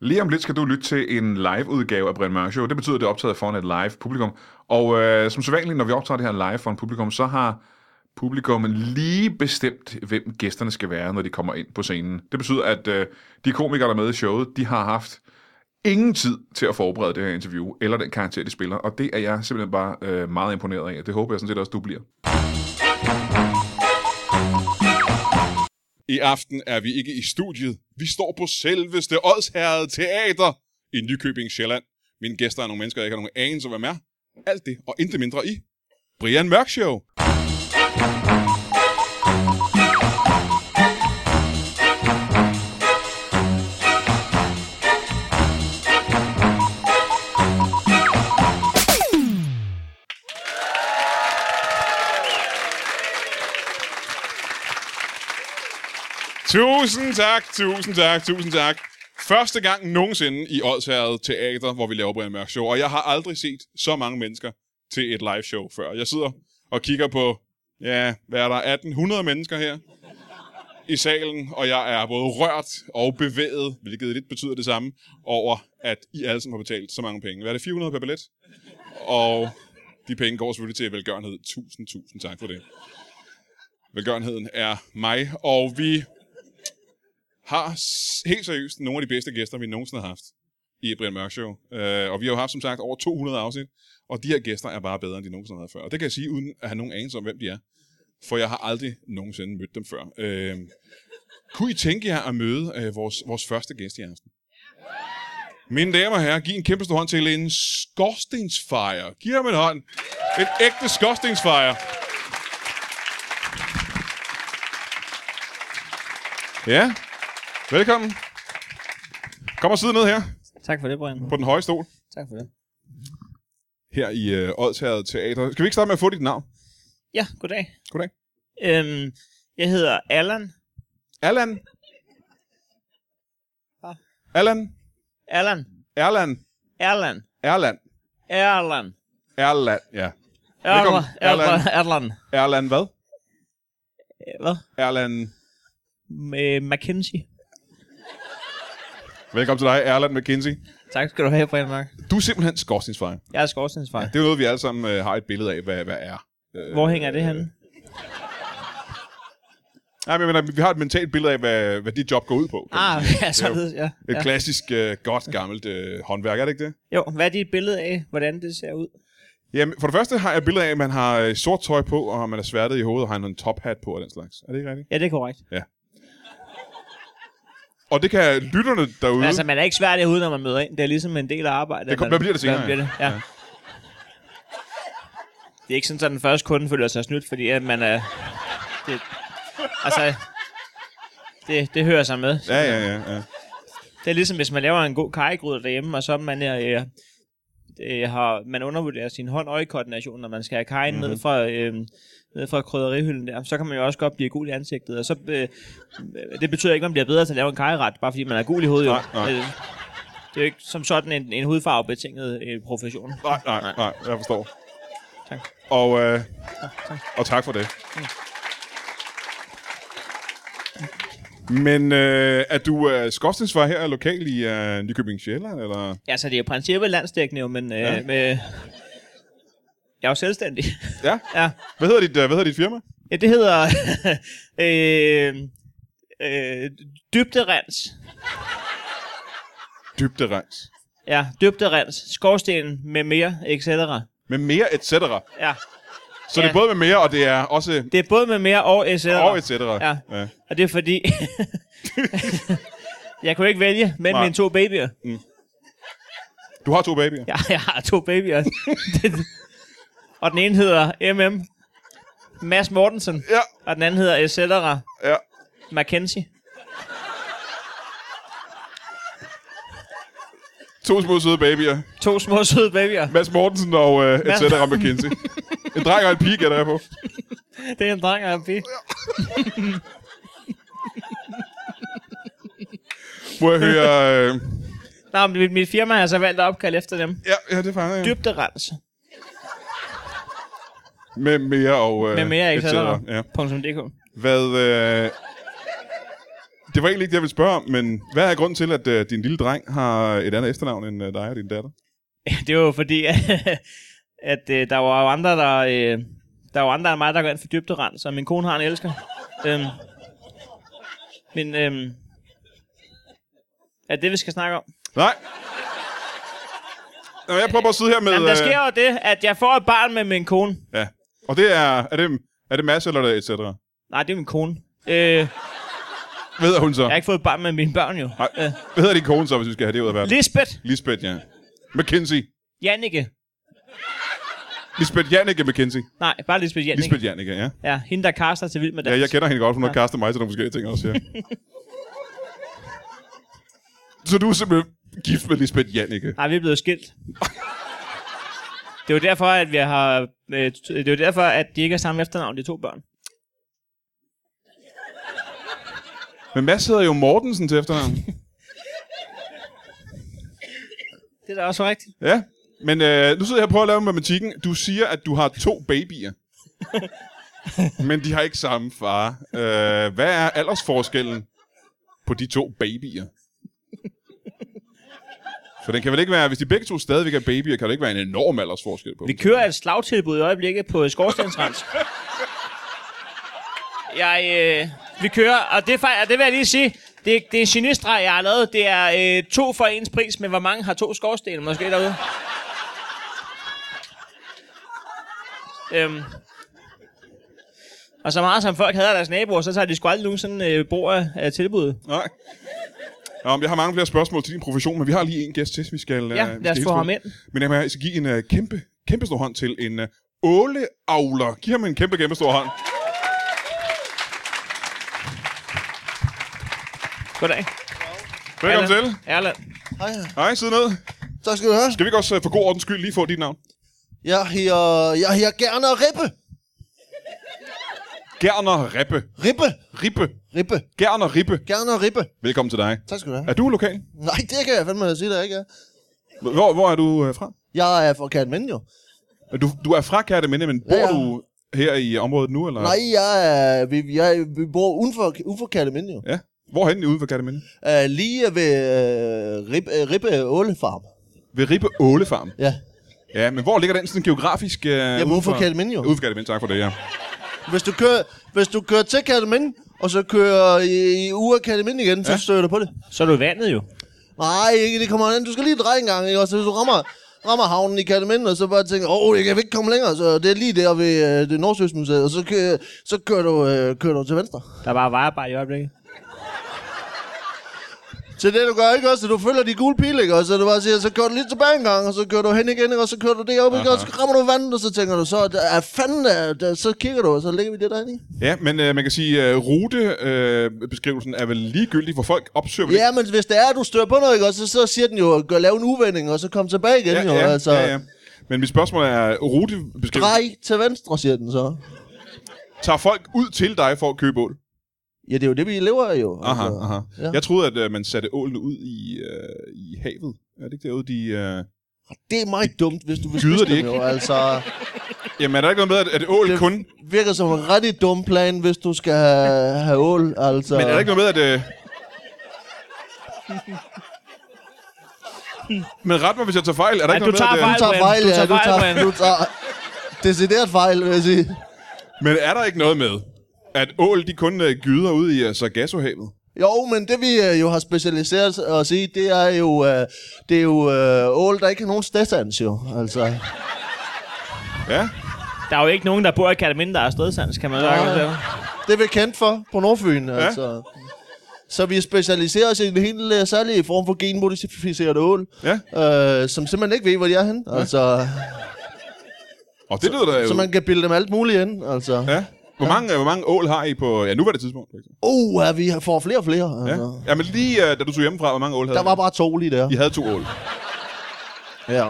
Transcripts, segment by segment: Lige om lidt skal du lytte til en live-udgave af Brian Mørk Show. Det betyder, at det er optaget foran et live publikum. Og øh, som sædvanligt, når vi optager det her live foran publikum, så har publikum lige bestemt, hvem gæsterne skal være, når de kommer ind på scenen. Det betyder, at øh, de komikere, der er med i showet, de har haft ingen tid til at forberede det her interview, eller den karakter, de spiller. Og det er jeg simpelthen bare øh, meget imponeret af. Det håber jeg sådan set også, du bliver. I aften er vi ikke i studiet. Vi står på selveste Odsherred Teater i Nykøbing Sjælland. Mine gæster er nogle mennesker, jeg ikke har nogen anelse om, hvem er. Alt det og intet mindre i Brian Mørk Show. Tusind tak, tusind tak, tusind tak. Første gang nogensinde i Odsherred Teater, hvor vi laver Brian Mørk Show, og jeg har aldrig set så mange mennesker til et live show før. Jeg sidder og kigger på, ja, hvad er der, 1800 mennesker her i salen, og jeg er både rørt og bevæget, hvilket lidt betyder det samme, over at I alle sammen har betalt så mange penge. Hvad er det, 400 per billet? Og de penge går selvfølgelig til velgørenhed. Tusind, tusind tak for det. Velgørenheden er mig, og vi har s- helt seriøst nogle af de bedste gæster, vi nogensinde har haft i et Brian Mørk Show. Øh, og vi har jo haft, som sagt, over 200 afsnit, og de her gæster er bare bedre, end de nogensinde har været før. Og det kan jeg sige, uden at have nogen anelse om, hvem de er. For jeg har aldrig nogensinde mødt dem før. Øh, kunne I tænke jer at møde øh, vores, vores første gæst i aften? Mine damer og herrer, giv en kæmpe stor hånd til en skorstensfejer. Giv ham en hånd. En ægte skorstensfejer. Ja, velkommen. Kom og sidde ned her Tak for det, Brian. på den høje stol. Tak for det. her i øh, Odsherred Teater. Skal vi ikke starte med at få dit navn? Ja, goddag. Goddag. Øhm, jeg hedder Allan. Allan? Ah. Allan? Allan. Erland? Erland. Erland? Erland. Erland, ja. Velkommen, Erland. Erland. Erland. Erland. Eh, Erland hvad? Hvad? Erland. Øh, Mackenzie. Velkommen til dig, Erland McKinsey. Tak skal du have, Brian Mark. Du er simpelthen skorstensfejer. Jeg er skorstensfar. Ja, Ja, det er jo noget, vi alle sammen øh, har et billede af, hvad, hvad er. Øh, Hvor hænger det henne? Nej, men jeg mener, vi har et mentalt billede af, hvad, hvad dit job går ud på. kan man Ah, sige. ja, således, ja. øh, Et ja. klassisk, øh, godt gammelt øh, håndværk, er det ikke det? Jo, hvad er dit billede af, hvordan det ser ud? Jamen, for det første har jeg et billede af, at man har øh, sort tøj på, og man er sværtet i hovedet, og har en tophat på og den slags. Er det ikke rigtigt? Ja, det er korrekt. Og det kan lytterne derude... Men altså, man er ikke svært i hovedet, når man møder ind. Det er ligesom en del af arbejdet. Mm-hmm. Det kom- at hvad bliver det senere, hvad Bliver det? Ja. ja. ja. Det er ikke sådan, at den første kunde føler sig snydt, fordi at man er... Det, altså, det, det hører sig med. Ja, ja, ja. ja. Det er ligesom, hvis man laver en god karrigryde derhjemme, og så man er... Øh, øh, har, man undervurderer sin hånd-øje-koordination, når man skal have kajen Mhm. mm-hmm. ned fra... Øh, ned fra krydderihylden der, så kan man jo også godt blive gul i ansigtet, og så, øh, det betyder ikke, at man bliver bedre til at lave en kajeret, bare fordi man er gul i hovedet. jo. Nej, nej. Øh, det er jo ikke som sådan en, en hudfarvebetinget øh, profession. Nej, nej, nej, jeg forstår. Tak. Og, øh, tak. og tak for det. Men øh, er du øh, skorstensfar her lokal i øh, Nykøbing Sjælland, eller? Ja, så det er jo princippet landsdækkende jo, men øh, Ja. ja. med, jeg er jo selvstændig. Ja. ja. Hvad hedder dit, øh, hvad hedder dit firma? ja, det hedder øh, øh, dybderens. Dybderens. Ja, dybderens, skorsten med mere, etc. Med mere et cetera. Ja, Så ja. det er Ja. både med mere, og det er også det er både med mere og et cetera. og et cetera. Ja. ja. Og det er fordi... jeg kunne ikke vælge mellem Nej. mine to babyer. Du har to babyer. Jeg, jeg har to babyer. Det- og den ene hedder MM Mads Mortensen, Ja, og den anden hedder Cetera ja. Mackenzie. To små søde babyer. To små søde babyer. Mads Mortensen og øh, et Mads- cetera McKinsey. en dreng og en pige, gætter jeg på. Det er en dreng og en pige. Må jeg høre... Øh, Nå, men mit, mit firma har så valgt at opkalde efter dem. ja, ja, det fanger jeg. Dybderens. Med mere og... Øh, Med mere, et etc. cetera, Ja. .dk. Hvad... Øh, Det var egentlig ikke det, jeg ville spørge om, men hvad er grunden til, at øh, din lille dreng har et andet efternavn end øh, dig og din datter? det var jo fordi, at, at øh, der var jo andre, der... Øh, der var andre end mig, der går ind for dybderens, og min kone har en elsker. øhm, men øhm, er det, vi skal snakke om? Nej. Nå, jeg prøver bare at sidde her med... Jamen, der øh, sker jo det, at jeg får et barn med min kone. Ja. Og det er... Er det, er det Mads eller er det et cetera? Nej, det er min kone. Øh, Ved hun så? Jeg har ikke fået et barn med mine børn, jo. Nej. Hvad hedder din kone så, hvis vi skal have det ud af verden? Lisbeth, Lisbeth, ja. McKinsey. Jannike. Lisbeth Janneke McKinsey. Nej, bare Lisbeth Jannike. Lisbeth Janneke, ja. Ja, hende, der kaster til vild med dans. Ja, jeg kender hende godt. Hun har kastet mig til nogle forskellige ting også, ja. så du er simpelthen gift med Lisbeth Janneke. Nej, vi er blevet skilt. det er jo derfor, at vi har... Øh, t- det er jo derfor, at de ikke har samme efternavn, de to børn. Men Mads hedder jo Mortensen til efternavn. Det er da også rigtigt. Ja. Men øh, nu sidder jeg og prøver at lave matematikken. Du siger, at du har to babyer. Men de har ikke samme far. Øh, hvad er aldersforskellen på de to babyer? For den kan vel ikke være, hvis de begge to stadigvæk er babyer, kan det ikke være en enorm aldersforskel på Vi dem. kører et slagtilbud i øjeblikket på Skorstensrens. jeg, øh, vi kører, og det, er fej- og det vil jeg lige sige, det, er- det er en genistreg, jeg har lavet. Det er øh, to for ens pris, men hvor mange har to skorstene måske derude? øhm. Og så meget som folk hader deres naboer, så tager de sgu aldrig nogensinde øh, brug af, af tilbuddet. Nej. Nå, men jeg har mange flere spørgsmål til din profession, men vi har lige en gæst til, vi skal... øh, vi Ja, skal lad os hilse få på. ham ind. Men jamen, jeg skal give en uh, kæmpe, kæmpe stor hånd til en uh, åleavler. Giv ham en kæmpe, kæmpe stor hånd. Goddag. Velkommen til. Erland. Hej. Hej, sidde ned. Tak skal du have. Skal vi ikke også øh, for god ordens skyld lige få dit navn? Jeg hedder, jeg hedder gerne Rippe. Gerner Rippe. Rippe. Rippe. Rippe. Gerner Rippe. Gerne Rippe. Velkommen til dig. Tak skal du have. Er du lokal? Nej, det kan jeg fandme sige, der ikke er. Hvor, hvor er du øh, fra? Jeg er fra Katmandu. jo. Du, du er fra Kærteminde, men bor Ja, ja. du her i området nu? Eller? Nej, jeg er, vi, jeg, vi bor uden for, uden for Katmandu. jo. Ja. Hvorhen ude for Kærteminde? Uh, lige ved uh, Rippe, uh, Rippe Ålefarm. Ved Rippe Ålefarm. Ja. Ja, men hvor ligger den sådan geografisk? Øh, Jamen, uden for Kærteminde, jo. Ude for Kærteminde, tak for det, ja. Hvis du kører, hvis du kører til Katmandu, og så kører i, i uge af Katmandu igen, så støder du på det. Så er du i vandet jo. Nej, ikke, det kommer an. Du skal lige dreje en gang, ikke? Og så hvis du rammer, rammer havnen i Katamind, og så bare tænker, åh, oh, jeg kan ikke komme længere, så det er lige der ved øh, det Nordsøsmuseet, og så, kø, så kører, du, øh, kører du til venstre. Der er bare vejarbejde i øjeblikket. Så det du gør, ikke også, at du følger de gule pile, ikke? Og så du bare siger, så kører du lige tilbage en gang, og så kører du hen igen, ikke? Og så kører du deroppe, ikke? Og så rammer du vandet, og så tænker du, så er fanden, er, der, så kigger du, og så lægger vi det derinde i. Ja, men øh, man kan sige, at øh, rutebeskrivelsen øh, beskrivelsen er vel ligegyldig, for folk opsøger vel Ja, men hvis det er, at du støder på noget, ikke? Og så, så siger den jo, gør lave en uvending, og så kom tilbage igen, ikke- jo. altså, Men mit spørgsmål er, rutebeskrivelsen, Drej til venstre, siger den så. tager folk ud til dig for at købe ål? Ja, det er jo det, vi lever af, jo. Aha, altså. aha. Ja. ja. Jeg troede, at øh, man satte ålene ud i, øh, i havet. Er det ikke derude, de... Øh... Det er meget dumt, hvis du vil Gyder spise de dem ikke? jo. Altså, Jamen, er der ikke noget med, at, at ål det... Det- kun... virker som en rigtig dum plan, hvis du skal have, have ål. Altså. Men er der ikke noget med, at... Øh... Men ret mig, hvis jeg tager fejl. Er der Ja, ikke du noget med, tager at, øh, du tager fejl, Brian? Du ja. Du tager fejl, tager, Brian. du tager decideret fejl, vil jeg sige. Men er der ikke noget med, at ål de kun øh, gyder ud i øh, Sargassohavet? Jo, men det vi øh, jo har specialiseret os i, det er jo, øh, det er jo øh, ål, der ikke har nogen stedsans jo. Altså. Ja, Der er jo ikke nogen, der bor i Kataminde, der er stedsands, kan man jo ja. Det er vi kendt for på Nordfyn, ja. altså. Så vi specialiserer os i en helt øh, særlig form for genmodificeret ål, ja. øh, som simpelthen ikke ved, hvor de er henne. Altså, Og det lyder da jo... så man kan bilde dem alt muligt ind, altså. Ja. Hvor mange, øh, hvor mange ål har I på... Ja, nu var det tidspunkt. for eksempel. Uh, ja, vi får flere og flere. Ja. Altså. ja, men lige øh, da du tog hjemmefra, hvor mange ål havde Der var bare to lige der. I? I havde to ål. Ja.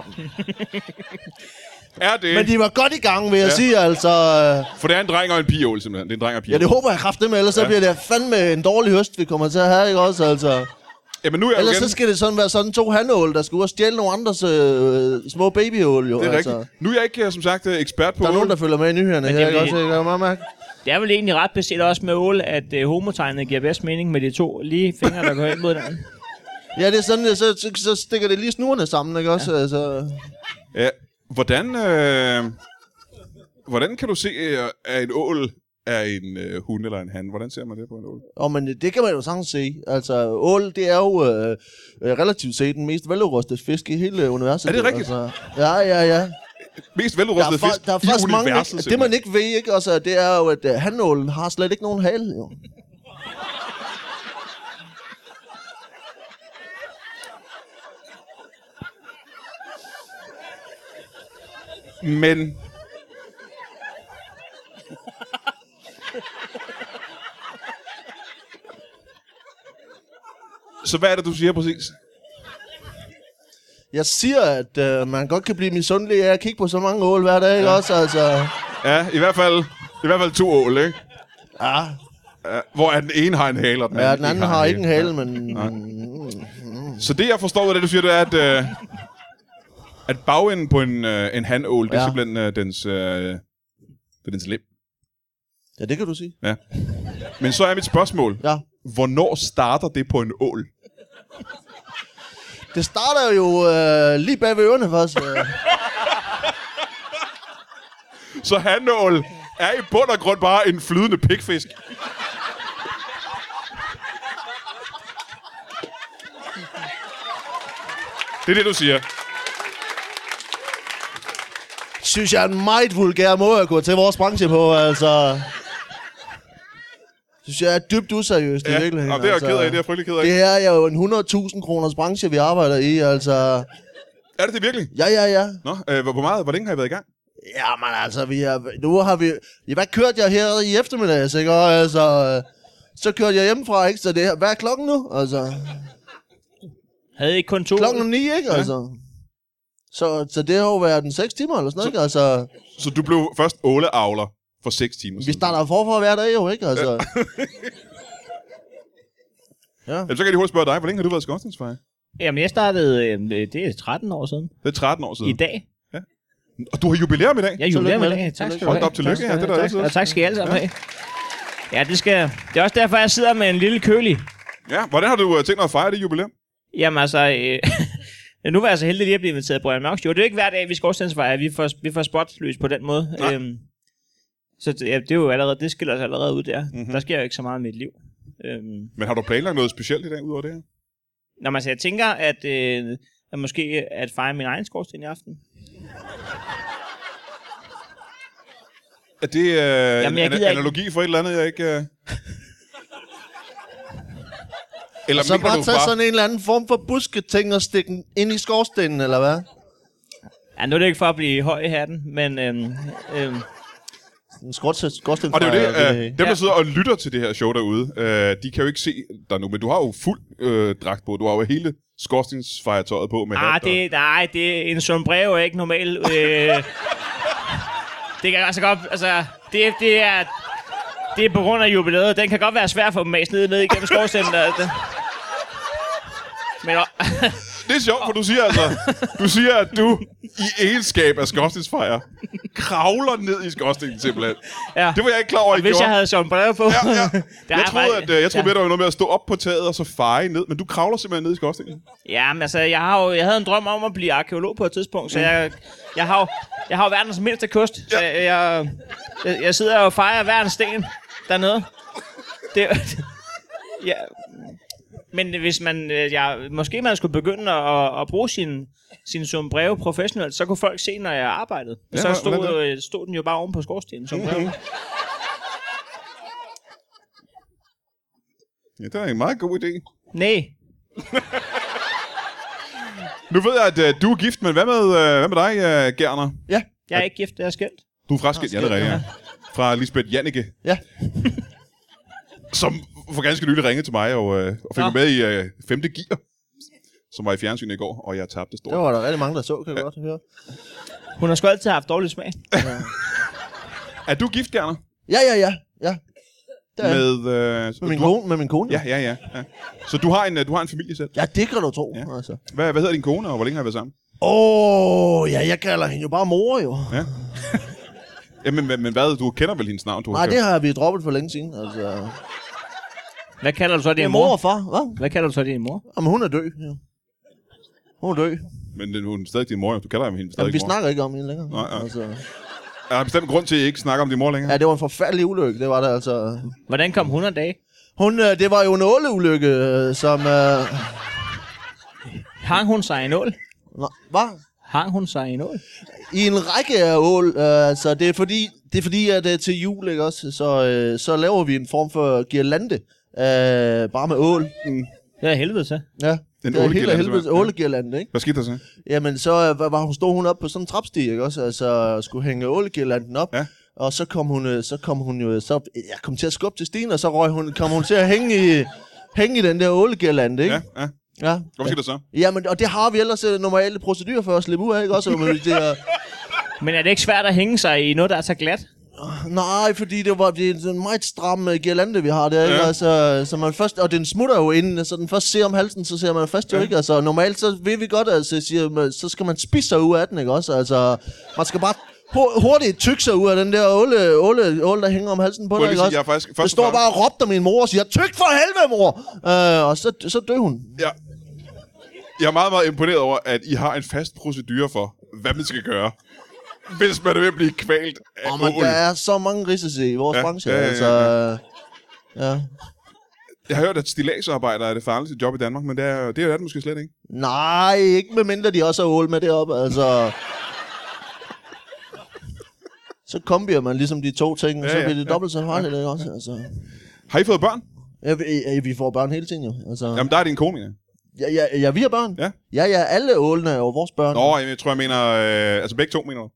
Er det... Men de var godt i gang, vil jeg Ja. ja. sige, altså. For det er en dreng og en pigeål, simpelthen. Det er en dreng og en Ja, pigeål. det håber jeg kraftigt med, ellers ja. så bliver det fandme en dårlig høst, vi kommer til at have, ikke også, altså. Jamen nu er jeg jo Ellers igen... så skal det sådan være sådan to hanål, der skal ud og stjæle nogle andres øh, små babyål, jo, Det er altså. rigtigt. Nu er jeg ikke, øh, som sagt, øh, ekspert på Der er ål. nogen, der følger med i nyhederne Men her, det er ikke vi- også, ikke? Kan du meget mærke? Det er vel egentlig ret beset også med ål, at øh, homotegnet giver bedst mening med de to lige fingre, der går ind mod den. Ja, det er sådan, at så, så, så stikker det lige snurrene sammen, ikke også? Ja. Altså, Ja, hvordan, øh, hvordan kan du se, øh, at en ål er en øh, hund eller en han? Hvordan ser man det på en ål? og men det kan man jo sagtens se. Altså, ål, det er jo øh, øh, relativt set den mest velrustede fisk i hele universet. Er det rigtigt? Altså, ja, ja, ja. Mest Der er, veludrustede for, fisk der er i faktisk mange, universet. det man ikke ved, ikke? Også, det er jo, at øh, hanålen har slet ikke nogen hale, jo. simpelthen. Men... Så hvad er det, du siger præcis? Jeg siger, at øh, man godt kan blive misundelig af at kigge på så mange ål hver dag, ikke ja. også? Altså, Ja, i hvert fald, i hvert fald to ål, ikke? ja, Ja, hvor at den ene har en hale, og den, ja, den anden har ikke en en hale, men... Så det, jeg forstår ved det, du siger, det er, at, øh, at bagenden på en, øh, en handål, det er Ja. simpelthen øh, dens, øh, det er dens lem. Ja, det kan du sige. Ja. Men så er mit spørgsmål, Ja. hvornår starter det på en ål? Det starter jo øh, lige bag ved ørerne, faktisk. Øh. Så handål er i bund og grund bare en flydende pikfisk. Det er det, du siger. Synes jeg er en meget vulgær måde at gå til vores branche på, altså... Synes jeg er dybt useriøst i Ja, virkeligheden. og det er jeg altså. ked af, det er jeg frygtelig ked af. Det her er jo en 100.000 kroners branche, vi arbejder i, altså... Er det det virkelig? Ja, ja, ja. Nå, øh, hvor hvor meget, hvor længe har I været i gang? Ja, men altså, vi har, nu har vi... Ja, hvad kørte jeg her i eftermiddags, ikke? Og, altså, øh, så kørte jeg hjemmefra, ikke? Så det er, hvad er klokken nu? Altså, Havde I ikke kun to? klokken er ni, ikke? Altså. Så, så det har jo været den 6 timer eller sådan noget, ikke? Altså, Så du blev først åleavler for 6 timer vi siden. starter forfra hver dag jo, ikke? Altså. Ja. Jamen, så kan jeg lige hurtigt spørge dig, hvor længe har du været skorstensfejer? Jamen, jeg startede, øh, det er 13 år siden. Det er 13 år siden. I dag. Og du har jubilæum i dag? Jeg er jubilæum i med dag. det. Tak skal du Hold have. da op, Tak tillykke. skal du Ja, det er der have. Tak- altid. Og tak skal I alle sammen have. Ja, det skal Det er også derfor, jeg sidder med en lille kølig. Altså- Ja, hvordan har du øh, tænkt dig at fejre det jubilæum? Jamen altså, øh, nu var jeg så heldig lige at blive inviteret af Brian Mørk Show. Det er jo ikke hver dag, vi skal overstandsveje, vi får, vi får spotløs på den måde. Nej. Øhm, så det, ja, det, er jo allerede, det skiller sig allerede ud der. Mhm. Mm-hmm. Der sker jo ikke så meget i mit liv. Øhm, Men har du planlagt noget specielt i dag, udover det her? når man så altså, jeg tænker, at, øh, at måske at fejre min egen skorsten i aften. Er det øh, Jamen, jeg en an- gider ikke. analogi for et eller andet, jeg ikke... Øh... Eller Så mener bare du tage bare... sådan en eller anden form for busketing og stikke den ind i skorstenen, eller hvad? Ja, nu er det ikke for at blive høj i hatten, men øhm, øhm, En skorsten, skorsten Og det er jo det, fra- øh, dem, der Ja. sidder og lytter til det her show derude, øh, de kan jo ikke se dig nu, men du har jo fuld øh, dragt på. Du har jo hele skorstensfejretøjet på med ah, hat og- det, nej, det, en sombrero er ikke normal. Øh, det kan altså godt, altså, det, det er, det er på grund af jubilæet. Den kan godt være svær for dem at ned, ned igennem skorstenen. Der, der. Men, o- Det er sjovt, for du siger altså, du siger, at du i egenskab af skorstensfejer kravler ned i skorstenen simpelthen. ja, Det var jeg ikke klar over, I hvis gjorde. jeg havde sombrero på. Ja, ja. Der Jeg er troede, bare- at, øh, jeg troede ja. mere, der var noget med at stå op på taget og så feje ned, men du kravler simpelthen ned i skorstenen. Ja, men altså, jeg, har jo, jeg havde en drøm om at blive arkeolog på et tidspunkt, så jeg, jeg, har, jo, jeg har jo verdens mindste kost. Ja. Jeg, jeg, jeg, jeg sidder og fejrer hver en sten dernede. Det, ja. Men hvis man, øh, ja, måske man skulle begynde at, at bruge sin, sin sombrero professionelt, så kunne folk se, når jeg arbejdede. Ja, Ja, så hva- stod, hvordan øh, stod den jo bare oven på skorstenen, sombrero. Ja, det er en meget god idé. Nej, Nu ved jeg, at øh, du er gift, men hvad med, øh, hvad med dig, øh, Gerner? Ja, jeg er ikke gift, jeg er skældt. Du er fraskilt, ja, det er rigtigt, ja. Fra Lisbeth Janneke, ja. som for ganske nylig ringede til mig og, øh, og Nå. fik mig med i øh, 5. gear, som var i fjernsynet i går, og jeg tabte stort. Det var der rigtig mange, der så, kan jeg godt høre. Hun har sgu altid haft dårlig smag. Er du gift, Gerner? Ja, ja, ja. ja. Det er jeg. Med, øh, med min du har- kone. Med min kone. Ja, ja, ja, ja. Så du har en, øh, du har en familie selv? Ja, det kan du tro. Ja. Ja. Altså. Hvad, hvad hedder din kone, og hvor længe har I været sammen? Åh, oh, ja, jeg kalder hende jo bare mor, jo. Ja. Jamen, men, men hvad? Du kender vel hendes navn? Du har Nej, købt- det har vi droppet for længe siden. Altså, Hvad kalder du så det din er mor mor? og far, hva? Hvad kalder du så din mor? Jamen, hun er død. Ja. Hun er død. Men det- hun er stadig din mor, jo. Du kalder hende stadig Jamen, vi mor. snakker ikke om hende længere. Nej, nej. Altså, Er der bestemt grund til, at I ikke snakker om din mor længere? ja, det var en forfærdelig ulykke, det var det altså. Hvordan kom 100 dage? Hun, øh, det var jo en åleulykke, øh, som... Øh, Hang hun sig i nål? nå, hvad? Hang hun sig i nål? I en række af ål, øh, altså det er fordi, det er fordi at øh, til jul, ikke også, så, øh, så laver vi en form for girlande, øh, bare med ål. Det er helvede til. Ja, En det er helt Mm. ålegirlande, af helvedes simpelthen. ålegirlande, ikke? Hvad skete der så? Jamen, så øh, var- var hun, stod hun op på sådan en trapstige, ikke også? Altså, skulle hænge ålegirlanden op. Ja. Og så kom hun, øh, så kom hun jo, så jeg kom til at skubbe til Stine, og så røg hun, kom hun til at hænge i, hænge i den der ålegirlande, ikke? Ja, ja. Ja. Hvad skete der så? Jamen, og det har vi ellers øh, normale procedurer for at slippe ud af, ikke også? Men det er, Men er det ikke svært at hænge sig i noget, der er så glat? nej, fordi det var det er en meget stram øh, girlande, vi har der, ikke? Ja. Altså, så man først, og den smutter jo inden, så den først ser om halsen, så ser man først jo ikke. Altså, normalt så ved vi godt, altså, siger, man, så skal man spise sig ud af den, ikke også? Altså, man skal bare hu- hurtigt tykke sig ud af den der åle, åle, åle der hænger om halsen på Må jeg lige dig, ikke sige, også? jeg er faktisk... Jeg først og står fremmest- bare og råbte af min mor og siger, tyk for helvede, mor! Øh, og så, så døde hun. Ja. Jeg er meget, meget imponeret over, at I har en fast procedure for, hvad man skal gøre, hvis man er ved at blive kvalt af Og oh, man, ål. der er så mange risici i vores Ja, ja, branche, ja, ja, ja, ja, altså. Ja. Jeg har hørt, at stilagsarbejder er det farligste job i Danmark, men det er, det er det måske slet ikke. Nej, ikke medmindre de også har ål med deroppe, altså. Så kombinerer man ligesom de to ting, ja, Ja, så ja, bliver det ja, dobbelt så farligt, ikke også? Altså. Har I fået børn? Ja, vi, ja, vi får børn hele tiden jo, altså. Jamen, der er din kone, ja. Ja, ja, ja, vi har børn. Ja. ja, ja alle ålene er jo vores børn. Nå, jeg tror, jeg mener... Øh, altså, begge to mener du?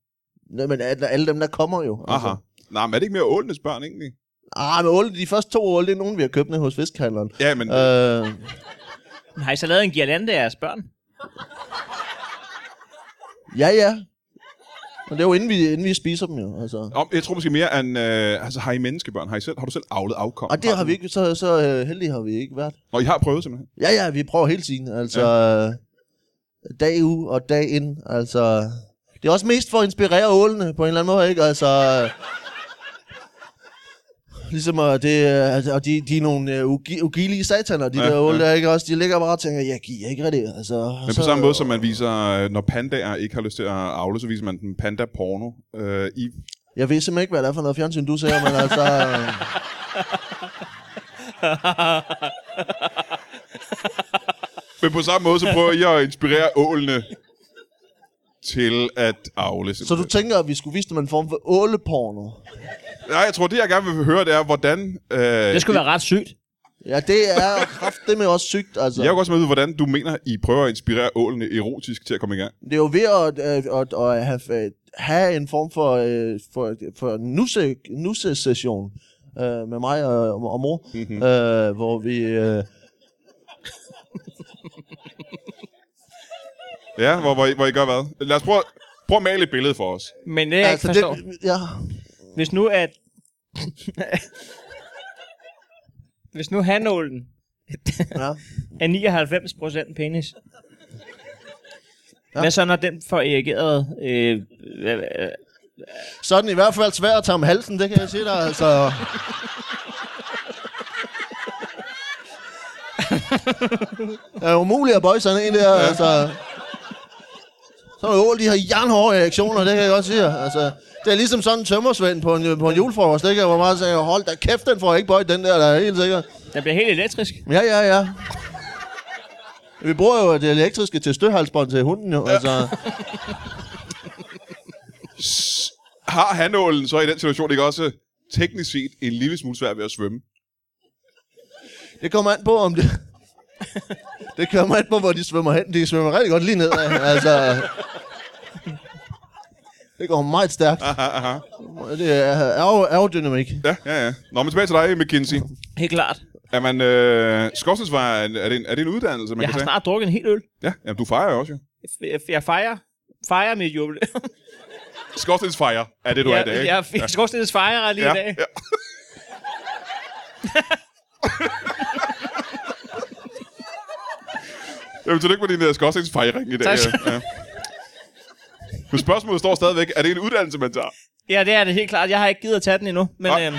Nå. Men alle alle dem, der kommer jo. altså. Aha. Nej, men er det ikke mere ålenes børn, egentlig? Ah, men ål, de første to ål, det er nogen, vi har købt ned hos fiskhandleren. Ja, men... Øh. Øh, Har I så lavet en girlande af jeres børn? ja, ja. Men det er jo inden vi, inden vi spiser dem jo, altså. Om, jeg tror måske mere, at... Øh, altså, har I menneskebørn? Har, I selv, har du selv avlet afkom? Og det har vi ikke, så, så øh, heldige har vi ikke været. Og I har prøvet, simpelthen. Ja, ja, vi prøver hele tiden. Altså, dag ud og dag ind. Altså, det er også mest for at inspirere ålene på en eller anden måde, ikke? Altså, ligesom, og, det, øh, altså, og de, de er nogle øh, ugi- ugilige sataner, de Ja, ja, der ål, ja. der, ikke? Også, de ligger bare og tænker, jeg giver ikke rigtig, altså. Men på samme måde, som man viser, øh, når pandaer ikke har lyst til at avle, så viser man den panda-porno. Øh, I Jeg ved simpelthen ikke, hvad det er for noget fjernsyn, du ser, men altså... øh, Men på samme måde, så prøver jeg at inspirere ålene til at avle. så du simpelthen. tænker, at vi skulle vise dem en form for åleporno? Nej, jeg tror, det jeg gerne vil høre, det er, hvordan... Øh, Det skulle være ret sygt. Ja, det er kraftedeme også sygt, altså. Jeg vil også med vide, hvordan du mener, I prøver at inspirere ålene erotisk til at komme i gang. Det er jo ved at, at, øh, at, at have, at have en form for, øh, for, for en nusse, nusse-session øh, med mig og, og mor, mm-hmm. øh, hvor vi... Øh, Ja, hvor, hvor, I, hvor I gør hvad? Lad os prøve, at- prøv at male et billede for os. Men det, jeg altså, ikke forstår. Det... ja, Hvis nu at... Hvis nu hanålen ja. er 99% penis. Hvad så, når den får erigeret... Øh, øh, øh, Så er den i hvert fald svær at tage om halsen, det kan jeg sige dig, altså. Det er umuligt at bøje sådan en der, altså. Så er det ål, de har jernhårde reaktioner, det kan jeg godt sige. jer. Altså, det er ligesom sådan en tømmersvend på en, på en julefrokost, ikke? Hvor man siger, hold da kæft, den får jeg ikke bøjet, den der, der er helt sikkert. den bliver helt elektrisk. Ja, ja, ja. Vi bruger jo det elektriske til stødhalsbånd til hunden, jo. Altså, Har hanålen så i den situation ikke også teknisk set en lille smule svært ved at svømme? Det kommer an på, om det... det kommer an på, hvor de svømmer hen. De svømmer rigtig godt lige nedad. Altså... Det går meget stærkt. Aha, aha. Det er aer- aerodynamik. Ja, ja, ja. Nå, men tilbage til dig, McKinsey. Helt klart. Er man øh, skovstidsvejer, er, det en, er det en uddannelse, man Jeg kan har tage? snart drukket en hel øl. Ja, jamen, du fejrer jo også, jo. Jeg, jeg fejrer, fejrer mit jubel. Skorstensfejrer er det, du er i jeg, dag, ikke? jeg, jeg skal også fejrer lige ja, i dag. Ja. Jamen, tillykke med din uh, skorstensfejring i dag. Tak. Ja. Men spørgsmålet står stadigvæk, er det en uddannelse, man tager? Ja, det er det helt klart. Jeg har ikke givet at tage den endnu, men... Nej. Øhm,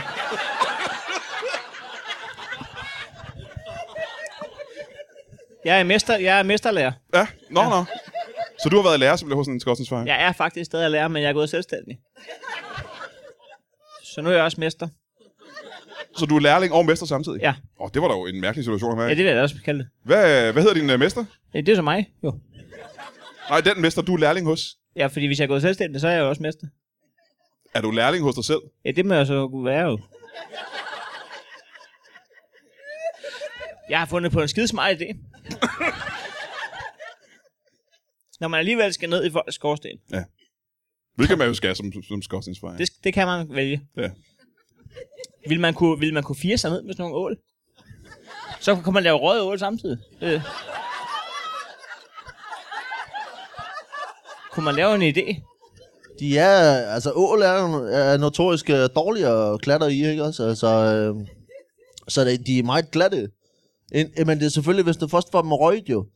jeg, er mester, jeg er mesterlærer. Ja, nå, nå. Så du har været lærer simpelthen hos en skotsens far? Jeg er faktisk stadig lærer, men jeg er gået selvstændig. Så nu er jeg også mester. Så du er lærling og mester samtidig? Ja. Åh, oh, det var da jo en mærkelig situation at være Ja, i. det vil jeg da også kalde det. Hvad, hvad hedder din uh, mester? Ja, Det er så mig, jo. Nej, den mester, du er lærling hos. Ja, fordi hvis jeg er gået selvstændig, så er jeg jo også mester. Er du lærling hos dig selv? Ja, det må jeg så kunne være jo. Jeg har fundet på en skide smart idé. Når man alligevel skal ned i folks skorsten. Hvilket man jo skal som, som skotsens far. Det, det kan man vælge. Ja. Vil man kunne, vil man kunne fire sig ned med sådan nogle ål? Så kan man lave røde ål samtidig. Øh. Det. Kunne man lave en idé? De er, altså ål er, er notorisk øh, dårlige at klatre i, ikke også? Altså, øh, så det, de er meget glatte. Ind, øh, men det er selvfølgelig, hvis du først får dem røget jo.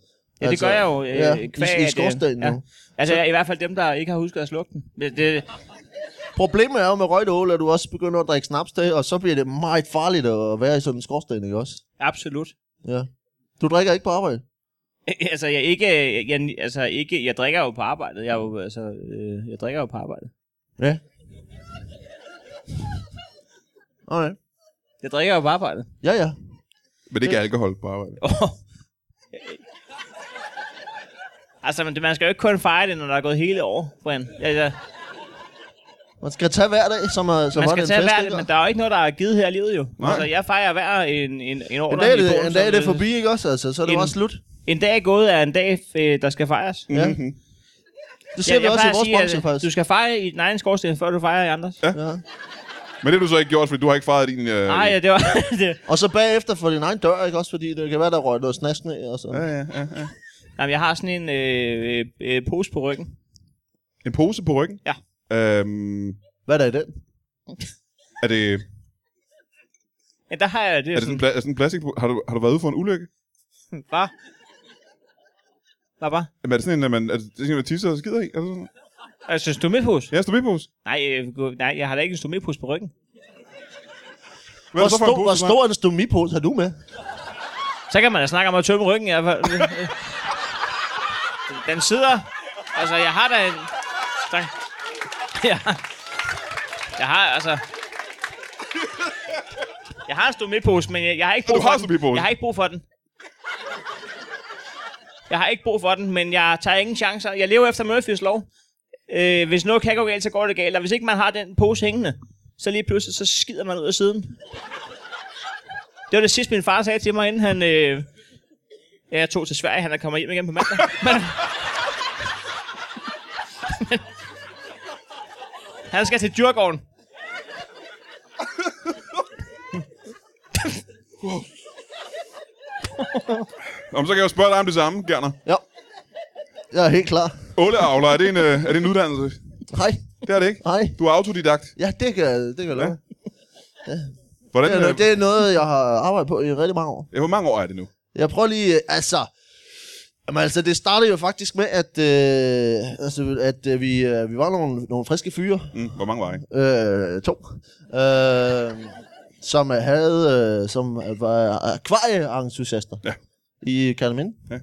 Altså, Ja, det gør jeg jo. Øh, ja, kvæg, i, i at, øh, skorstenen ja. jo. Altså, i hvert fald dem, der ikke har husket at slukke den. Det, det, Problemet er jo med røget ål, at du også begynder at drikke snaps til, og så bliver det meget farligt at være i sådan en skorsten, ikke også? absolut. Ja. Du drikker ikke på arbejde? altså, jeg ikke, jeg, altså ikke, jeg drikker jo på arbejdet. Jeg, er jo, altså, øh, jeg drikker jo på arbejdet. Ja. Okay. Jeg drikker jo på arbejdet. Ja, ja. Men det er ikke alkohol på arbejde. Oh. altså, men det- man skal jo ikke kun fejre det, når der er gået hele år, Brian. Altså, Man skal tage hver dag, som er, som man var skal det tage en fest, hver, ikke? men der er jo ikke noget, der er givet her i livet jo. Nej. Altså, jeg fejrer hver en, en, en år. En dag, er det, en dag er det forbi, ikke også? Altså, så er det En- bare slut. En dag gået er en dag, øh, der skal fejres. Ja. Mhm. Det ser vi også i plejer at vores sige, at branche, faktisk. Du skal fejre i din egen skorsten, før du fejrer i andres. Ja. Ja. Men det har du så ikke gjort, fordi du har ikke fejret din... Øh... Nej, ja, det var... det, Og så bagefter for din egen dør, ikke også? Fordi det kan være, der røg noget snask ned og sådan. Ja, Ja. ja, ja, ja. jamen, jeg har sådan en øh, øh, øh, pose på ryggen. En pose på ryggen? Ja. Øhm, Hvad er der i den? er det, Ja, der har jeg det. er det sådan, en pla- er det sådan en plastik... Har du, har du været ude for en ulykke? Hvad? Hvad bare? Jamen, er det sådan en, at man, er det sådan en, man tisser og skider i? Er det sådan? Altså, en stomipose? Ja, stomipose. Nej, øh, gå- nej, jeg har da ikke en stomipose på ryggen. Hvad er Hvor, det så for en stor, pose, hvor du har? stor en stomipose har du med? Så kan man da snakke om at tømme ryggen i hvert fald. Den sidder. Altså, jeg har da en... Tak. Ja. Jeg har, altså... Jeg har en stomipose, men jeg, jeg har ikke Og brug du har for den. stomipose? Jeg har ikke brug for den. Jeg har ikke brug for den, men jeg tager ingen chancer. Jeg lever efter Murphys lov. Øh, hvis noget kan gå galt, så går det galt. Og hvis ikke man har den pose hængende, så lige pludselig, så skider man ud af siden. Det var det sidste, min far sagde til mig, inden han... Øh, ja, jeg tog til Sverige. Han er kommet hjem igen på mandag. Men, men- han skal til Djurgården. Om så kan jeg jo spørge dig om det samme, Gerner. Ja. Jeg er helt klar. Åleavler, er det en, øh, er det en uddannelse? Hej. Det er det ikke. Hej. Du er autodidakt. Ja, det kan, det kan jeg love. Hvordan, Det er, øh, noget- det er noget, jeg har arbejdet på i rigtig mange år. ja, Eh, hvor mange år er det nu? Jeg prøver lige, øh, altså... Jamen, altså, det startede jo faktisk med, at, øh, altså, at øh, vi, øh, vi var nogle, nogle friske fyre, Mm, hvor mange var I? øh, to, øh, som havde, øh, som var akvarieentusiaster Ja. i Kalamind. Ja.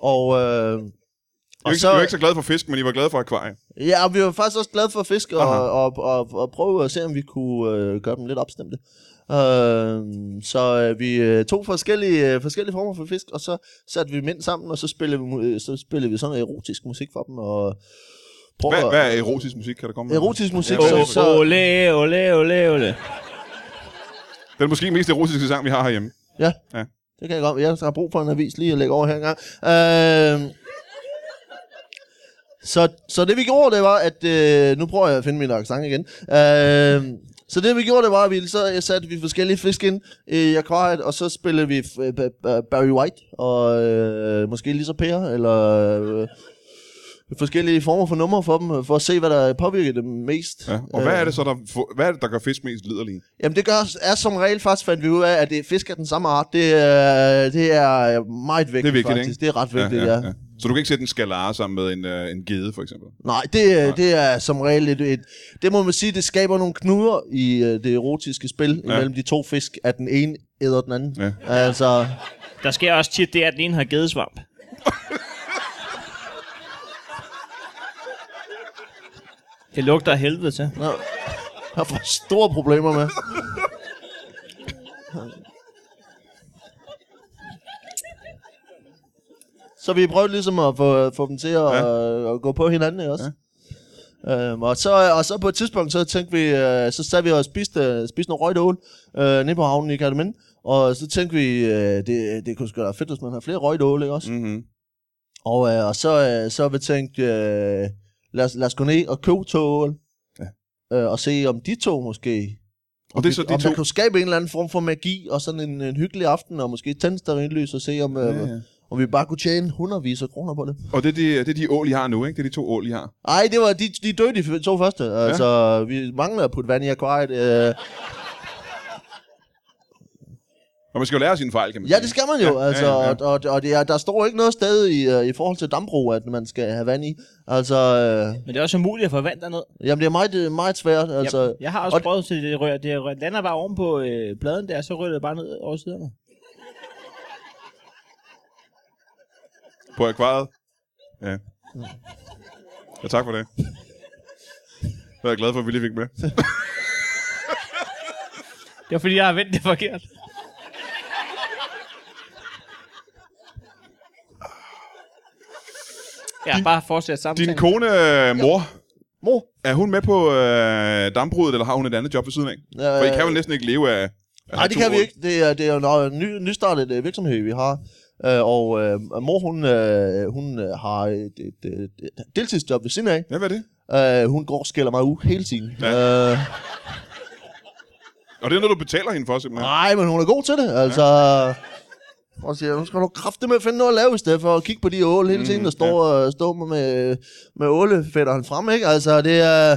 Og, øh, Jeg er, ikke, så, jeg er ikke så glad for fisk, men I var glade for akvarier. ja, og vi var faktisk også glade for fisk, og, Aha. og, og, og prøve at se, om vi kunne øh, gøre dem lidt opstemte. Øh, så øh, vi øh, tog forskellige, øh, forskellige former for fisk, og så satte vi dem ind sammen, og så spillede vi, mu- øh, så spillede vi sådan erotisk musik for dem, og prøvede... Hvad, hvad er erotisk musik, kan der komme med? Erotisk musik, Ja, så, hvad- så, Ole, ole, ole, ole. Den måske mest erotiske sang, vi har herhjemme. Ja. Ja. Det kan jeg godt. Jeg har brug for en avis lige at lægge over her engang. Øh, så, så det vi gjorde, det var, at... Øh, nu prøver jeg at finde min accent igen. Øh, så det vi gjorde, det var, at vi så satte vi forskellige fisk ind i akvariet, og så spillede vi f- øh, ba- ba- Barry White, og øh, måske Lisa Per, eller øh, forskellige former for numre for dem, øh, for at se, hvad der påvirker dem mest. Ja. Og hvad er det så, der, få- hvad er det, der gør fisk mest liderlige? Jamen det gør, er som regel faktisk, fandt vi ud af, at det er fisk af den samme art. Det, er, det er meget vigtigt, vigtigt, faktisk. ikke? Det er ret vigtigt, ja. ja. ja. Så Så du kan ikke sætte en skalare sammen med en, øh, en gede, for eksempel. Nej, det, Nej. Nej, det er som regel et, et... Det må man sige, det skaber nogle knuder i øh, det erotiske spil ja. imellem de to fisk, at den ene æder den anden. Ja. Altså, Der sker også tit det, at den ene har gedesvamp. Det lugter af helvede til. jeg har fået store problemer med. Så vi prøvede ligesom at få, få dem til at, ja. at gå på hinanden, ikke også? Ja. Øhm, og, så, og så på et tidspunkt, så tænkte vi, øh, så sad vi og spiste, øh, spiste noget røgt ål øh, nede på havnen i Kardeminde. Og så tænkte vi, øh, det, det kunne sgu da være fedt, hvis man har flere røgt ål, ikke også? Mm-hmm. Og, øh, og så, øh, så har vi tænkt, øh, lad, os, lad os gå ned og købe to ål. Ja. Øh, og se om de to måske... Og det er så de om to... der kunne skabe en eller anden form for magi, og sådan en, en hyggelig aften, og måske tænde stearinlys og se, om, Ja, øh, ja. om vi bare kunne tjene hundredvis af kroner på det. Og det er, de, det er de ål, I har nu, ikke? Det er de to ål, I har. Ej, det var de, de døde de f- to første. Altså, ja. vi mangler at putte vand i akvariet. Øh, Og man skal jo lære sine fejl, kan man ja, sige. det skal man jo. Ja, Ja, altså, ja, ja. Og, og, og det er, der står ikke noget sted i, øh, i forhold til dambrug, at man skal have vand i. Altså, øh, Men det er også umuligt at få vand derned. jamen, det er meget, øh, meget svært. Altså, jeg, jeg har også og- prøvet til det rør. Det rør, lander bare oven på øh, bladen der, så ryger det bare ned over siderne. På akvariet. Ja. ja. tak for det. Jeg er glad for, at vi lige fik med. Det var fordi, jeg har vendt det forkert. Ja, bare fortsæt samtalen. Din kone, øh, mor, Mor, er hun med på øh, dambruddet, eller har hun et andet job ved siden af? Øh, For I kan jo næsten ikke leve af... af Nej, det to kan vi ål. ikke. Det er, det er jo en ny, nystartet øh, virksomhed, vi har. Øh, og øh, mor, hun, øh, hun øh, har et, et, et, et deltidsjob ved siden af. Ja, hvad er det? Øh, hun går og skælder mig ud hele tiden. Ja. Øh, Og det er noget, du betaler hende for, simpelthen. nej, men hun er god til det. Altså, og siger, nu skal du kræfte med at finde noget at lave, i stedet for at kigge på de ål hele tiden, der står, Mm, ja. står med, med ålefætteren frem, ikke? Altså, det er...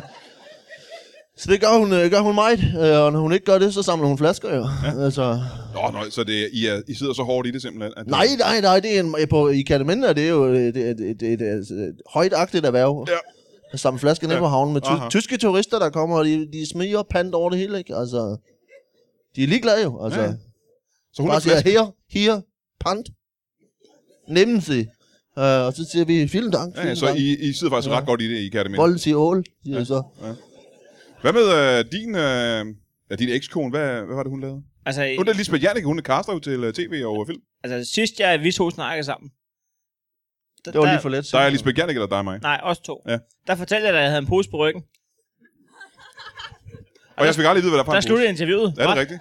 Så det gør hun, øh, gør hun meget, øh, og når hun ikke gør det, så samler hun flasker jo. Ja. Altså, Nå, nej, så det, I, er, I sidder så hårdt i det, simpelthen. At Nej, nej, nej, det er en, på, i Kataminde er det jo et, et, et, et, et, øh, et højtagtigt erhverv. Ja. At samle flasker ned Ja, på havnen med ty- aha. tyske turister, der kommer, og de, de smiger pant over det hele, ikke? Altså, de er ligeglade jo, altså. Ja, Ja, ja. Så hun er Bare siger, flaske. her, her, pant. Nemmen sig. Uh, og så siger vi, vielen dank, Ja, vielen ja, ja, så dank. I... I, I sidder faktisk ja. ret godt i det, I kan det med. Volden siger ål, siger ja. så. Hvad med øh, din, øh, ja, din ekskone? Hvad, hvad var det, hun lavede? Altså, Hun er Lisbeth Jernicke, hun er caster jo til øh, tv og øh, film. altså, sidst jeg, vi to snakkede sammen. Der, Det var der- lige for let. Der er Lisbeth Jernicke, der er dig og mig. Nej, os to. Ja. Der fortalte jeg dig, at jeg havde en pose på ryggen. Og jeg fik aldrig vide, hvad der er for Der en pose. sluttede interviewet. Ja, det er Hva? rigtigt.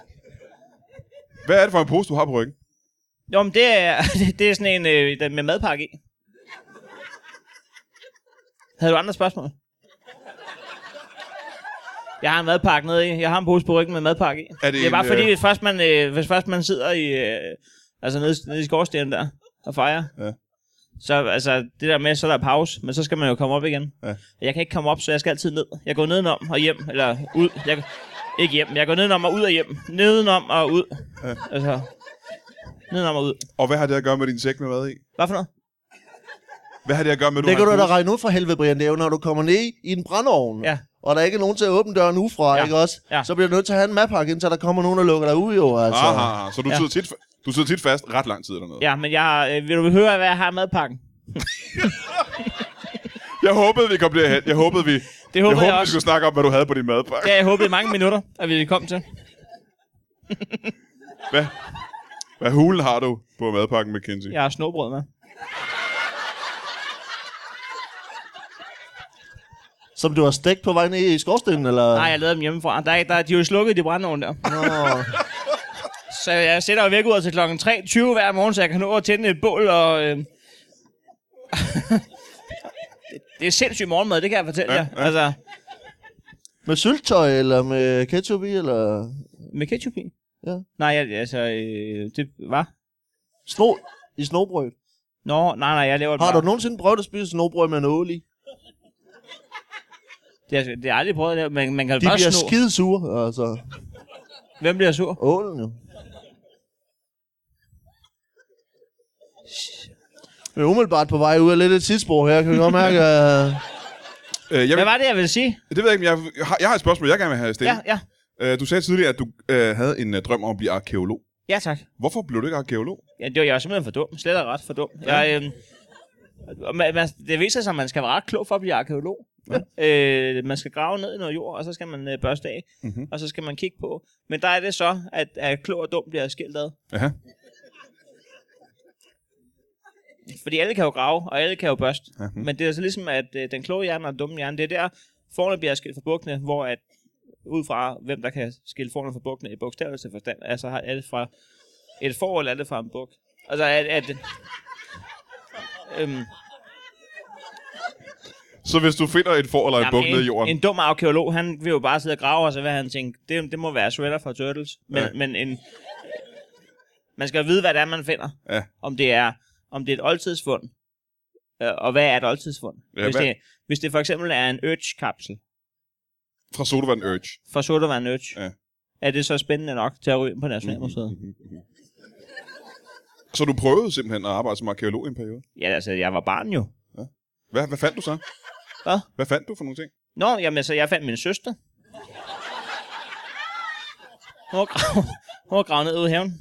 Hvad er det for en pose, du har på ryggen? Jo, men det er, det er sådan en øh, den med madpakke i. Havde du andre spørgsmål? Jeg har en madpakke nede i. Jeg har en pose på ryggen med madpakke i. Er det det er bare en, fordi, øh, hvis først man, øh, hvis først man sidder i, øh, altså nede, nede i skorstenen der og fejrer, Ja. så altså, det der med, så er der pause, men så skal man jo komme op igen. Ja. Og Jeg kan ikke komme op, så jeg skal altid ned. Jeg går nedenom og hjem, eller ud. Jeg, ikke hjem, jeg går nedenom og ud og hjem. Nedenom og ud. Ja. Altså, nedenom og ud. Og hvad har det at gøre med din sæk med mad i? Hvad for noget? Hvad har det at gøre med, at du Det kan har du en da pose? regne ud for helvede, Brian. Det er jo, når du kommer ned i en brandovn, Ja. og der er ikke nogen til at åbne døren ufra, Ja. ja. ikke også? Ja. Så bliver du nødt til at have en madpakke, indtil der kommer nogen, der lukker dig ud, jo. Altså. Aha, aha, Ah, så du, Ja. sidder tit, fa- du sidder tit fast ret lang tid dernede. Ja, men jeg har, øh, vil du høre, hvad jeg har i madpakken? Jeg håbede, vi kom derhen. Jeg håbede, vi, Det håbede jeg jeg håbede, vi også. skulle snakke om, hvad du havde på din madpakke. Det har jeg håbet i mange minutter, at vi kom til. Hvad, hvad hulen har du på madpakken, McKinsey? Jeg har snobrød med. Som du har stegt på vej ned i skorstenen, eller? Nej, jeg lavede dem hjemmefra. Der, er ikke- der, er- de er jo slukket, de brændeovne der. Nå. Så jeg sætter jo væk ud til klokken 3.20 hver morgen, så jeg kan nå at tænde et bål og... Øh... det er sindssygt morgenmad, det kan jeg fortælle Ja, ja, jer. Altså, Med syltøj, eller med ketchup i, eller? med ketchup i. Ja. Nej, jeg, altså, øh, det var... Sno I snobrød. Nå, nej, nej, jeg laver det Har bare. du nogensinde prøvet at spise snobrød med en ål i? Det, er, det har jeg aldrig prøvet at lave, men man kan De bare bliver sno. skide sure, altså. Hvem bliver sur? Ålen jo. Vi er umiddelbart på vej ud af lidt et tidsspor her, kan vi godt mærke. øh, Øh, jeg, Hvad vil, var det, jeg ville sige? det ved jeg ikke, men jeg har, jeg har et spørgsmål, jeg gerne vil have Ja, stillet. ja. Ja. Øh, du sagde tidligere, at du øh, havde en øh, drøm om at blive arkeolog. Ja, tak. Hvorfor blev du ikke arkeolog? Ja, det var jeg var simpelthen for dum. Slet og ret for dum. Jeg, øhm, og man, man, det viser sig, at man skal være ret klog for at blive arkeolog. Øh, man skal grave ned i noget jord, og så skal man øh, børste af, Mhm. mm-hmm. og så skal man kigge på. Men der er det så, at, at klog og dum bliver skilt ad. Aha. Fordi alle kan jo grave, og alle kan jo børste. Mhm. Men det er så ligesom, at øh, den kloge hjerne og den dumme hjerne, det er der, forne bliver skilt fra bukkene, hvor at ud fra, hvem der kan skille forne fra bukkene i bogstavelse forstand, altså har- er det fra et får, eller er det fra en buk? Altså, at... at øhm, Så hvis du finder et får eller et Jamen, buk nede i jorden, En, en dum arkeolog, han vil jo bare sidde og grave, og så vil han tænke, det, det må være Shredder fra Turtles. Men, Ja. ja. men en, man skal jo vide, hvad det er, man finder. Ja. Om, det er, om det er et oldtidsfund, øh, og hvad er et oldtidsfund? Ja, hvis, hvad- det, hvis det for eksempel er en urge-kapsel fra Sodavand Urge. fra Sodavand Urge, Ja. Mhm. er det så spændende nok til at ryge ind på Nationalmuseet? Mm-hmm. Så du prøvede simpelthen at arbejde som arkeolog i en periode. Ja, altså, jeg var barn jo. Hvad, hvad fandt du så? Hvad? Hvad fandt du for nogle ting? Nå, jamen, så jeg fandt min søster. Hun var gravet, hun var gravet ned ude i haven.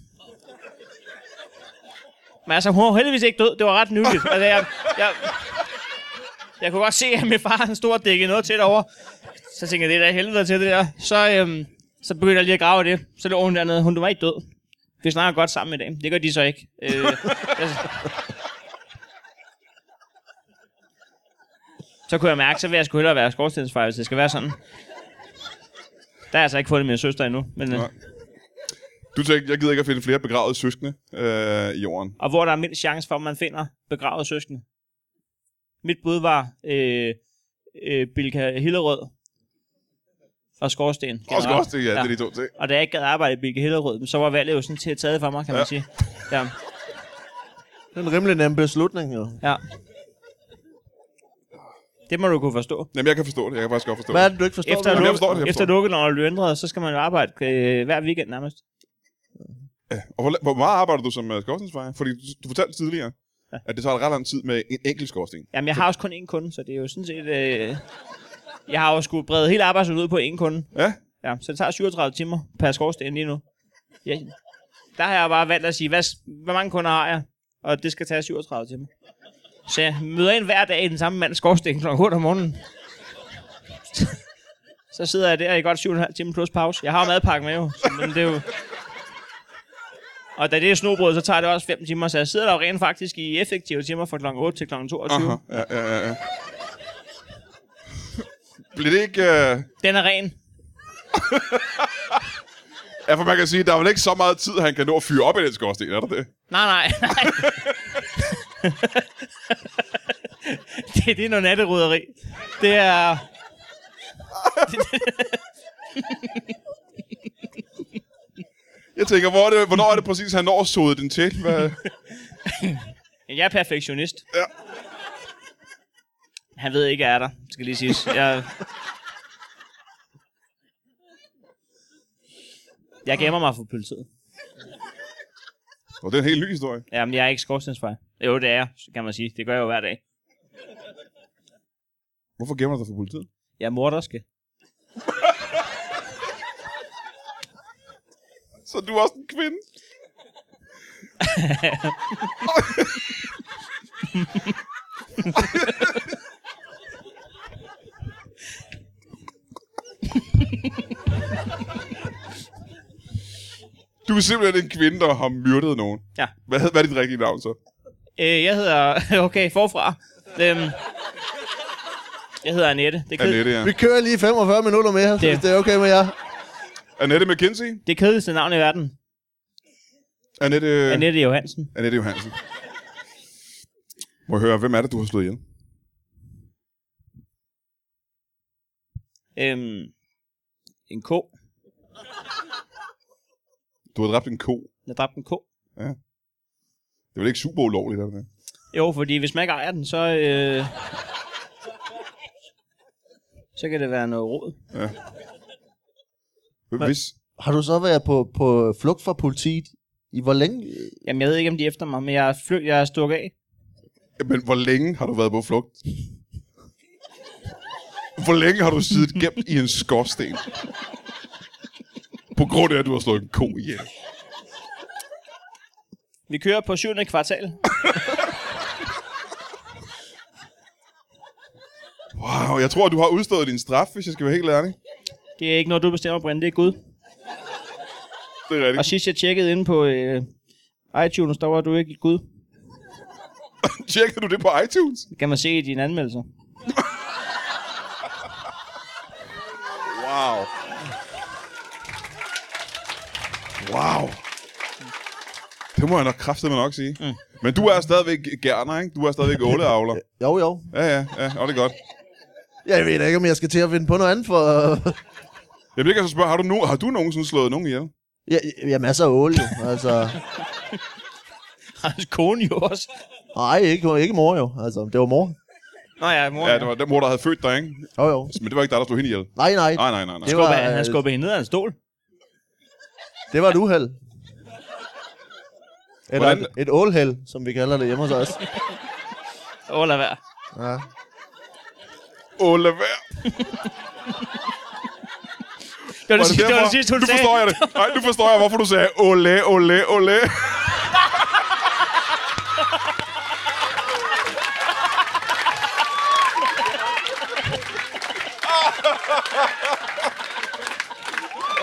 Men altså, hun var heldigvis ikke død. Det var ret nyligt. Altså, jeg, jeg, jeg kunne godt se, at min far han stod og dækkede noget til derovre. Så tænkte jeg, det er da helvede til det der. Så, øhm, så begyndte jeg lige at grave i det. Så lå hun dernede. Hun var ikke død. Vi snakker godt sammen i dag. Det gør de så ikke. Øh, altså, så kunne jeg mærke, så vil jeg sgu hellere være skorstensfejl, hvis det skal være sådan. Der er altså ikke fundet min søster endnu. Men, øh, Nej. Du tænkte, jeg gider ikke at finde flere begravede søskende øh, i jorden. og hvor der er mindst chance for, at man finder begravet søskende. Mit bud var øh, øh, Bilka Hillerød og Skorsten. Og generelt. også det, ja, det er de to ting. Og da jeg ikke gad arbejde i Bilka Hillerød, så var valget jo sådan til at tage for mig, kan man Ja. sige. Ja. Det er en rimelig nem beslutning, jo. ja. Det må du kunne forstå. Jamen, jeg kan forstå det. Jeg kan faktisk godt forstå Hvad er det. det, du ikke forstår? Efter, ved jeg luk- forstår det, jeg efter forstår det. lukkeloven blev ændret, så skal man jo arbejde øh, hver weekend nærmest. Og hvor, hvor meget arbejder du som uh, skorstensfejer? Fordi du, du fortalte tidligere, ja. at det tager ret lang tid med en enkelt skorsten. Jamen, jeg har også kun én kunde, så det er jo sådan set... Øh, jeg har jo sgu bredt hele arbejdet ud på én kunde. Ja? Ja, så det tager 37 timer per skorsten lige nu. Ja. Der har jeg bare valgt at sige, hvad, s- hvor mange kunder har jeg? Og det skal tage 37 timer. Så jeg møder ind hver dag i den samme mands skorsten kl. 8 om morgenen. Så sidder jeg der i godt 7,5 timer plus pause. Jeg har jo madpakke med jo, så- men det er jo... Og da det er snobrød, så tager det også 5 timer, så jeg sidder der jo rent faktisk i effektive timer fra kl. 8 til kl. 22. Aha. Ja, ja, ja, ja. Bliver det ikke... Uh... Den er ren. Ja, for man kan sige, der er vel ikke så meget tid, han kan nå at fyre op i den skorsten, er der det? Nej, nej, nej. det, det er noget natteryderi. Det er... Jeg tænker, hvor er det, hvornår er det præcis, han når at sode den til? Hvad? Jeg er perfektionist. Ja. Han ved ikke, at jeg er der, skal lige siges. Jeg... Jeg gemmer mig for politiet. Og det er en helt ny historie. Jamen, jeg er ikke skorstensfejl. Jo, det er jeg, kan man sige. Det gør jeg jo hver dag. Hvorfor gemmer du dig for politiet? Jeg er morderske. Så du er også en kvinde? du er simpelthen en kvinde, der har myrdet nogen. Ja. Hvad, hvad er dit rigtige navn så? Øh, jeg hedder... Okay, forfra. Øhm, jeg hedder Annette. Det er, ked- Annette, ja. Vi kører lige 45 minutter mere, så Det- hvis det er okay med jer. Annette McKinsey? det er kedeligste navn i verden. Annette, Annette. Annette Johansen. Annette Johansen. Må jeg høre, hvem er det, du har slået ihjel? Øhm, en ko. Du har dræbt en ko. Jeg dræbte en ko. Det er vel ikke super ulovligt, er det det? Jo, fordi hvis man ikke ejer den, så... Øh, så kan det være noget rod. Hvis, Har du så været på, på flugt fra politiet i hvor længe? Jamen, jeg ved ikke, om de er efter mig, men jeg er, fly- jeg er stukket af. Men hvor længe har du været på flugt? Hvor længe har du siddet gemt i en skorsten? På grund af, at du har slået en ko ihjel. Vi kører på 7. kvartal. Wow, jeg tror, du har udstået din straf, hvis jeg skal være helt ærlig. Det er ikke noget, du bestemmer, Brian. Det er Gud. Det er Og rigtigt. sidst jeg tjekkede inde på øh, iTunes, der var du ikke Gud. Tjekker du det på iTunes? Det kan man se i dine anmeldelser. Wow. Wow. Det må jeg nok kraftedeme nok sige. Mm. Men du er stadigvæk gerner, ikke? Du er stadigvæk åleavler. Jo, jo. Ja, ja, ja. Og det er godt. Jeg ved da ikke, om jeg skal til at finde på noget andet, for... Jeg vil ikke så spørge, har du, no- har du nogensinde slået nogen ihjel? jeg, jeg er masser af ål, jo. Altså... Hans kone jo også. Nej, ikke, ikke mor jo. Altså, det var mor. Nå ja, mor. Ja, det var den mor, der havde født dig, ikke? Jo, jo. Men det var ikke dig, der slog hende ihjel. Nej, nej. Nej, nej, nej, nej. Det var, Skubber, han øh, skubbede hende ned af en stol. det var et uheld. Eller Hvordan- et, et ålheld, som vi kalder det hjemme hos os. Åh, lad være. Ja. Åh, lad være. Det var Var det, sidste, det, var det sidste, hun nu sagde. forstår jeg det. Nej, nu forstår jeg, hvorfor du sagde, ole, ole, ole.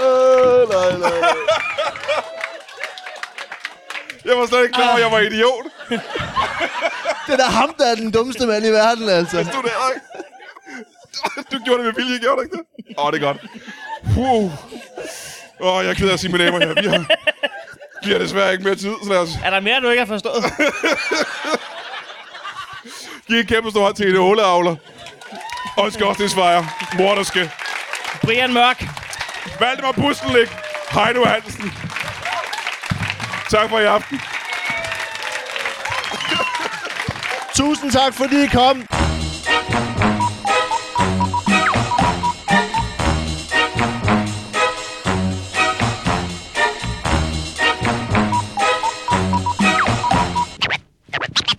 Øh, nej, nej, nej. Jeg var slet ikke klar, over, at jeg var idiot. Det er da ham, der er den dummeste mand i verden, altså. Du, det, nej. du gjorde det med vilje, gjorde du ikke det? Åh, det er godt. Wow. Åh, jeg er ked af at sige, mine damer og herrer. Vi har, vi har desværre ikke mere tid, så lad os Er der mere, du ikke har forstået? give en kæmpe stor hånd til en åleavler. Og en skorstensfejer. Morderske. Brian Mørk. Valdemar Bustenlik. Heino Hansen. Tak for i aften. Tusind tak, fordi I kom.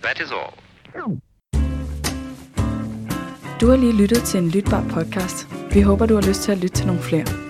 That is all. Du har lige lyttet til en lytbar podcast. Vi håber, du har lyst til at lytte til nogle flere.